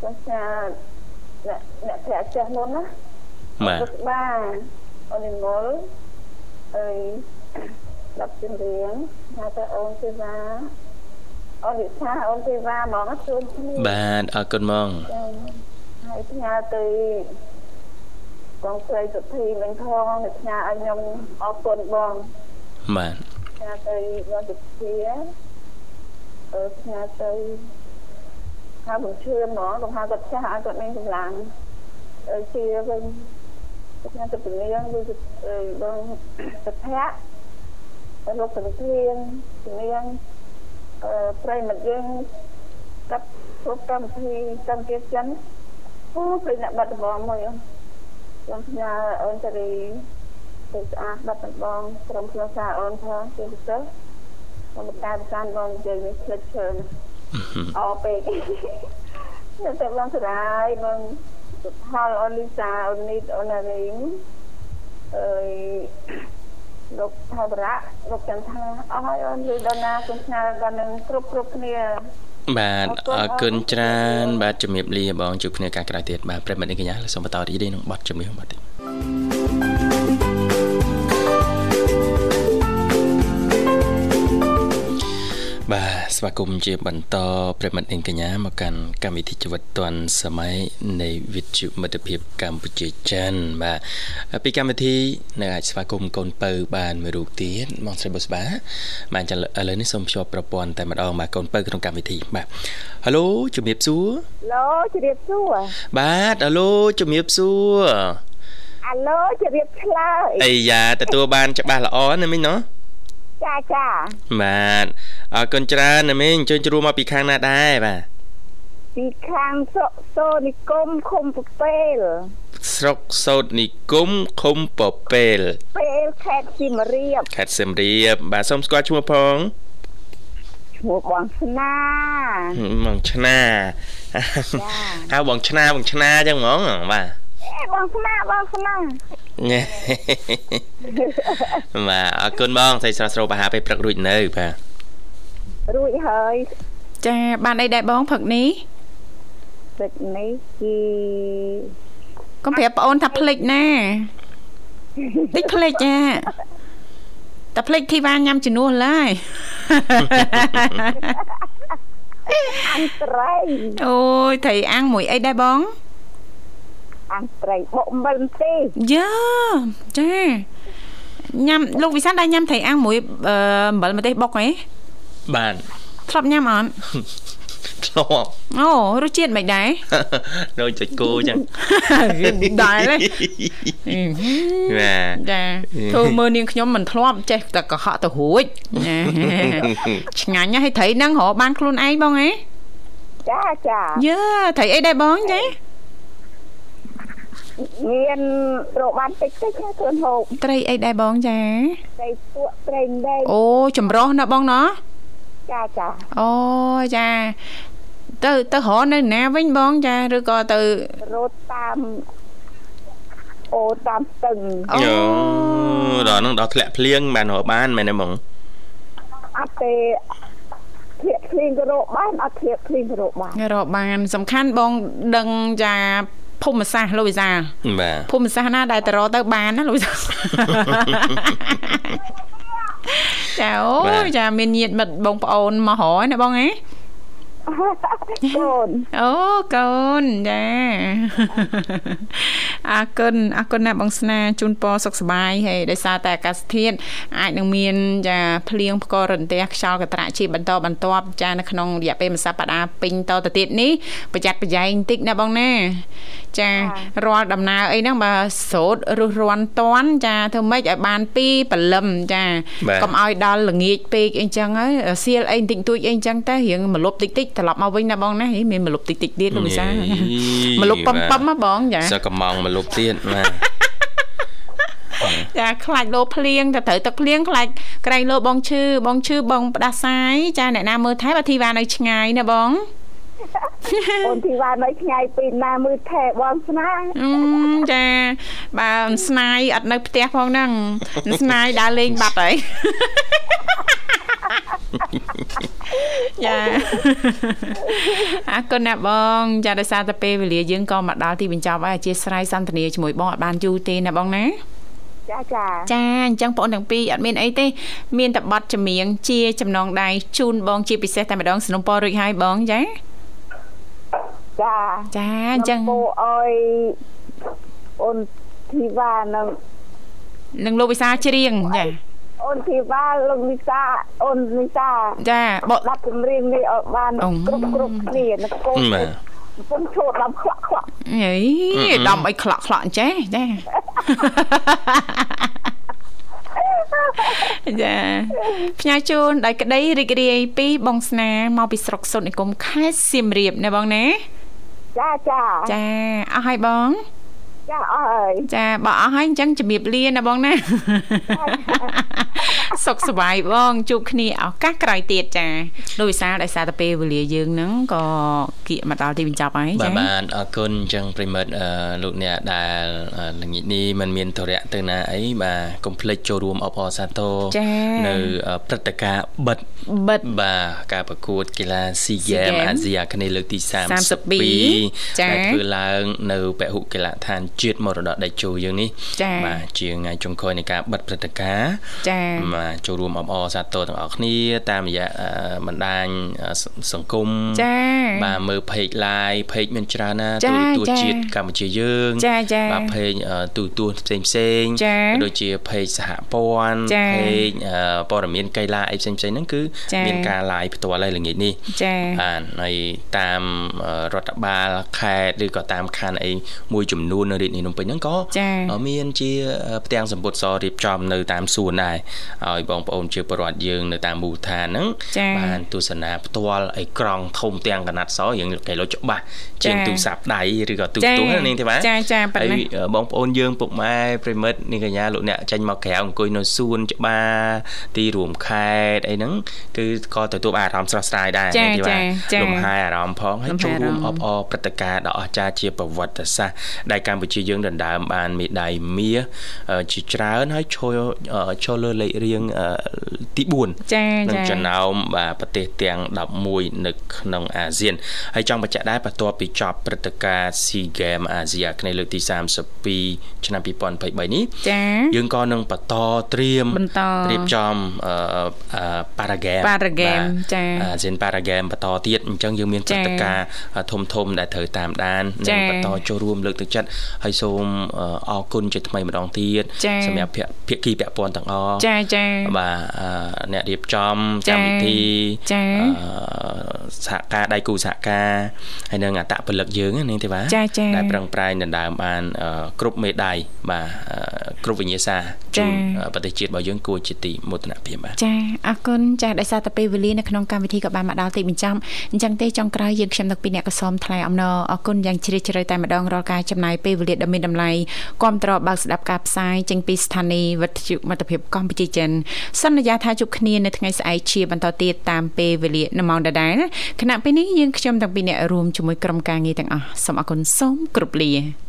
សូមស្វាគមន៍អ្នកអ្នកប្រាក់ចាស់មុនណា បាទ ពុកបាទអូននិមលអីដល់ជំរៀងថាទៅអូនទេវ៉ាអូនវិសាអូនទេវ៉ាហ្មងជូនគ្នា បាទអរគុណមក ចា៎ហើយផ្ញើទៅកងស្រីសុធីវិញផងហើយផ្ញើឲ្យខ្ញុំអរគុណបង បាទ ផ្ញើទៅបងសុធាអឺផ្ញើទៅថាបងជឿហ្មងបងហៅគាត់ចាស់ឲ្យគាត់មានកម្លាំងអឺជាវិញខ្ញុំទៅពលាងដូចអឺបងសុភ័ក្រលោកសុភីងពលាងអឺប្រិមិត្តយើងកាប់គ្រប់កម្មវិធីកម្មវិធីចិនអូប្រិយអ្នកបាត់ដំបងមួយអូនខ្ញុំផ្ញើអូនតារីទៅស្អាតបាត់ដំបងក្រុមគ្រួសារអូនផងជាពិសេសខ្ញុំមកតាមសានបងនិយាយនេះផ្លិចឈើណា អោ (laughs) ពេកខ្ញុំទៅបងសរាយបងសុផលអូនលីសាអូននីតអូនណារីងអើយលោកថាវរៈលោកចន្ទថាអស់ហើយអូនលីដល់ណាគុំស្នើដល់នឹងគ្រប់គ្រប់គ្នា បាទអរគុណច្រើនបាទជំរាបលាបងជួបគ្នាឱកាសក្រោយទៀតបាទប្រិយមិត្តនេះកញ្ញាលើសូមបន្តរីករាយនឹងប័ណ្ណចម្រៀងបាទទៀតបាទស្វាគមន៍ជាបន្តប្រិយមិត្តនាងកញ្ញាមកកាន់កម្មវិធីជីវិតឌွန်សម័យនៃវិទ្យុមិត្តភាពកម្ពុជាចិនបាទពីកម្មវិធីនៅអាចស្វាគមន៍កូនពៅបានមួយរូបទៀតបងស្រីបុស្បាបាទអញ្ចឹងឥឡូវនេះសូមភ្ជាប់ប្រព័ន្ធតែម្ដងបាទកូនពៅក្នុងកម្មវិធីបាទហៅឡូជំរាបសួរ ឡូជ្រាបសួរ បាទហៅឡូជំរាបសួរ អាឡូជ្រាបឆ្លើយ អីយ៉ាទទួលបានច្បាស់ល្អណាមិញណោះ ចាចា បាទអរគុណច្រើនណាមិញអញ្ជើញជួបមកពីខាងណាដែរបាទ ពីខាងសុសូនិគមឃុំពពេល ស្រុកសោតនិគមឃុំពពេល ពេលខេត្តសៀមរាប ខេត្តសៀមរាបបាទសូមស្គាល់ឈ្មោះផង ឈ្មោះបងស្នា បងឆ្នាហៅបងឆ្នាបងឆ្នាអញ្ចឹងហ្មង (laughs) បាទ អេបងស្មាបងស្មា ញ៉េបាទអរគុណបងស្រីស្រស់ស្រូបអាហារពេលព្រឹករួចនៅបាទ រួចហើយ ចាបានអីដែរបងផឹកនេះ ទឹកនេះគឺ កុំប្រាប់ប្អូនថាភ្លេចណាតិចភ្លេចចាតែភ្លេចធីវ៉ាញ៉ាំជំនួសឡើយ (laughs) អង្ត្រៃ អូយត្រីអាំងមួយអីដែរបង អង្ត្រៃបុកអំបិលម្ទេស យ៉ាចា ញ៉ាំលោកវិសាលដែរញ៉ាំត្រីអាំងមួយអឺអំបិលម្ទេសបុកហ៎ បាន ធ្លាប់ញ៉ាំអត់ ធ្លាប់ អូរសជាតិមិនដែរ ដូចចុចគូអញ្ចឹង ដែរ (laughs) ណា ណា ចាធ្វើមើលនាងខ្ញុំមិនធ្លាប់ចេះតែកុហកទៅរួចណា ឆ្ងាញ់ណាស់ហើយត្រីហ្នឹងរកបានខ្លួនឯងបងអេ ចាចា យើត្រីអីដែរបងចា មានរកបានតិចតិចណាខ្លួនហូប ត្រីអីដែរបងចា ត្រីទក់ត្រីដែង អូចម្រោះណាស់បងណោះ ចាចា អូចាទៅទៅរកនៅណាវិញបងចាឬក៏ទៅ រត់តាមអូតាមស្ទឹង អូ យោដល់ហ្នឹងដល់ធ្លាក់ភ្លៀងបានរកបានមែនទេបង អត់ទេធៀបភ្លៀងក៏រកបានអត់ធៀបភ្លៀងក៏រកបាន រកបានសំខាន់បងដឹងចាភូមិសាស្ត្រលោកវិសាល បាទ ភូមិសាស្ត្រណាដែលតរទៅបានណា (laughs) លោកវិសាល ចាអូ បាទ យចាមានញាតិមិត្តបងប្អូនមករកឯណាបងឯង កូន អូកូនចាអរគុណអរគុណណាស់បងស្នាជូនពរសុខសប្បាយហើយដោយសារតែអាកាសធាតុអាចនឹងមានចាភ្លៀងផ្គររន្ទះខ្យល់កន្ត្រាក់ជាបន្តបន្ទាប់ចានៅក្នុងរយៈពេលមួយសប្តាហ៍ពេញតទៅទៀតនេះប្រយ័ត្នប្រយែងបន្តិចណាបងណា ចារាល់ដំណើរអីហ្នឹងបើស្រោតរុះរាន់តន់ចាធ្វើម៉េចឲ្យបានពីព្រលឹមចា បាទ កុំឲ្យដល់ល្ងាចពេកអីចឹងហើយសៀលអីបន្តិចតួចអីចឹងតែរៀងមលប់តិចតិចត្រឡប់មកវិញណាបងណាហីមានមលប់តិចតិចទៀតលោកវិសាលមលប់ប៉ំប៉ំណាបងចា សឹកកំងមកលុបទៀត (laughs) បាទ ចាខ្លាចលោភ្លៀងតែត្រូវទឹកភ្លៀងខ្លាចក្រែងលោបងឈឺបងឈឺបងផ្ដាសាយចាអ្នកណាមើលថែបើធីវ៉ានៅឆ្ងាយណាបង អូនធីវ៉ានៅឆ្ងាយពីណាមើលថែបងស្នា អឺមចាបើអ៊ំស្នាយអត់នៅផ្ទះផង (laughs) ហ្នឹងអ៊ំស្នាយដើរលេងបា (laughs) ត់ហើយ ចា (laughs) អរគុណណាស់បងចាដោយសារតែពេលវេលាយើងក៏មកដល់ទីបញ្ចប់ហើយអធិស្ឋានសន្ទនាជាមួយបងអត់បានយូរទេណាបងណា ចាចា (laughs) ចាអញ្ចឹងបងអូនទាំងពីរអត់មានអីទេមានតែប័ណ្ណចម្រៀងជាចំណងដៃជូនបងជាពិសេសតែម្ដងสนុំពររួចហើយបងចា ចា ចាអញ្ចឹង ពូអើយអូនធីវ៉ានឹង នឹងលោកវិសាលច្រៀងចា អូនធីវ៉ាលោកវិសាអូនវិសា ចាបក ដាប់ចម្រៀងនេះឲ្យបាន អ៊ុំ គ្រប់គ្រប់គ្នាណាកូន បាទ កំពុងឈោតដល់ខ្វាក់ខ្វាក់ អីដំអីខ្លាក់ខ្លាក់អញ្ចេះចា (laughs) ចាផ្ញើជូនដោយក្តីរីករាយពីបងស្នាមកពីស្រុកសុននិគមខេត្តសៀមរាបណាបងណា ចាចា ចាអស់ហើយបង ចាអស់ហើយ ចាបើអស់ហើយអញ្ចឹងជំរាបលាណាបងណា (laughs) សុខសប្បាយបងជួបគ្នាឱកាសក្រោយទៀតចាដោយសារដោយសារតែពេលវេលាយើងហ្នឹងក៏គៀកមកដល់ទីបញ្ចប់ហើយ បាទ ចា បាទអរគុណអញ្ចឹងប្រិមិត្តអឺលោកអ្នកដែលអឺល្ងាចនេះมันមានធរៈទៅណាអីបាទកុំភ្លេចចូលរួមអបអរសាទរ ចា៎ នៅអឺព្រឹត្តិការណ៍បិទ បិទ បាទការប្រកួតកីឡា SEA SEA Games Games អាស៊ីអាគ្នេយ៍លើកទី ចា៎ 32ដែលធ្វើឡើងនៅពហុកីឡដ្ឋានជាតិមរតកតេជោយើងនេះ ចា៎ បាទជាថ្ងៃចុងក្រោយនៃការបិទព្រឹត្តិការណ៍ ចា បាទចូលរួមអបអរសាទរទាំងអស់គ្នាតាមរយៈអឺបណ្ដាញអឺសសង្គម ចា បាទមើល page live page មានច្រើនណា ចា ទូរទស្ស ចា ន៍ជាតិកម្ពុជាយើង ចាចា បាទ page អឺទូរទស្សន៍ផ្សេងផ្សេងៗ ចា ក៏ដូចជា page សហព័ន្ធ ចា page អឺព័ត៌មានកីឡាអីផ្សេងផ្សេងហ្នឹងគឺ ចា មានការ live ផ្ទាល់ហើយល្ងាចនេះ ចា បាទហើយតាមអឺរដ្ឋបាលខេត្តឬក៏តាមខណ្ឌអីមួយចំនួននៅរាជធានីភ្នំពេញហ្នឹងក៏ ចា អ่าមានជាផ្ទាំងសម្ពុទ្ធសររៀបចំនៅតាមសួនដែរឲ្យបងប្អូនជាប្រវត្តិយើងនៅតាមមូលដ្ឋានហ្នឹង ចា៎ បានទស្សនាផ្ទាល់អីក្រង់ធំទាំងកណាត់សរយើងគេលុចច្បាស់ជាង ចា៎ ទូរស័ព្ទដៃឬក៏ទូ ចា៎ ទូហ្នឹងនាងទេបាទ ចា៎ចា៎ប៉ិ ប៉ិ តណា នបងប្អូនយើងពុកម៉ែប្រិមិត្តនាងកញ្ញាលោកអ្នកចេញមកក្រៅអង្គុយនៅសួនច្បារទីរួមខេត្តអីហ្នឹងគឺក៏ទទួលបានអារម្មណ៍ស្រស់ស្រាយដែរ ចា៎ នាងទេបា ចា៎ ទ ចា៎ លំហែអារម្មណ៍ផងហើយ លំហែ ចូលរួម អារ អ ម្មណ៍ ប អរព្រឹត្តិការណ៍ដ៏អស្ចារ្យជាប្រវត្តិសាស្ត្រដែលកម្ពុជាយើងដណ្ដើមបានមេដាយមាសអឺជាច្រើនហើយឈរអឺឈរលើលេខរៀងអឺ ទី4 ចា នឹង ចា ចំណោមបាទប្រទេសទាំង11នៅក្នុងអាស៊ានហើយចង់បញ្ជាក់ដែរបន្ទាប់ពីចប់ព្រឹត្តិការណ៍ SEA Games អាស៊ីអាគ្នេយ៍លើកទី32ឆ្នាំ2023នេះ ចា យើងក៏នឹងបន្តត្រៀម បន្ត រៀបចំអឺអឺ para game Para game បាទ ចា៎ អាស៊ាន para game បន្តទៀតអញ្ចឹងយើងមានព្រឹត្តិការណ៍ធំធំដែលត្រូវតាមដាន ចា៎ និងបន្តចូលរួមលើកទឹកចិត្តហើយសូមអឺអរគុណជាថ្មីម្ដងទៀត ចា៎ សម្រាប់ភាគភាគីពាក់ព័ន្ធទាំងអស់ ចាចា បាទអឺអ្នករៀបចំ ចា៎ កម្មវិធី ចា៎ អឺសហការដៃគូសហការហើយនឹងអត្តពលិកយើងណានាងទេវ៉ា ចាចា ដែលចាប្រឹងប្រែងដណ្ដើមបានអឺគ្រប់មេដាយបាទអឺគ្រប់វិញ្ញាសា ចា៎ ជូនអឺប្រទេសជាតិរបស់យើងគួរជាទីមោទនភាពបាទ ចាអរគុណចាដោយសារតែពេលវេលានៅក្នុងកម្មវិធីក៏បានមកដល់ទីបញ្ចប់អញ្ចឹងទេចុងក្រោយយើងខ្ញុំនឹកពីអ្នកកសោមថ្លៃអំណរអរគុណយ៉ាងជ្រាលជ្រៅតែម្ដងរាល់ការចំណាយពេលវេលាដ៏មានតម្លៃគ្រប់តរបើកស្ដាប់ការផ្សាយចេញពីស្ថានីយ៍វិទ្យុមិត្តភាពកម្ពុជាចិនសន្យាថាជួបគ្នានៅថ្ងៃស្អែកជាបន្តទៀតតាមពេលវេលានៅម៉ោងដដែលគណៈពេលនេះយើងខ្ញុំទាំងពីរអ្នករួមជាមួយក្រុមការងារទាំងអស់សូមអរគុណសូមគោរពលា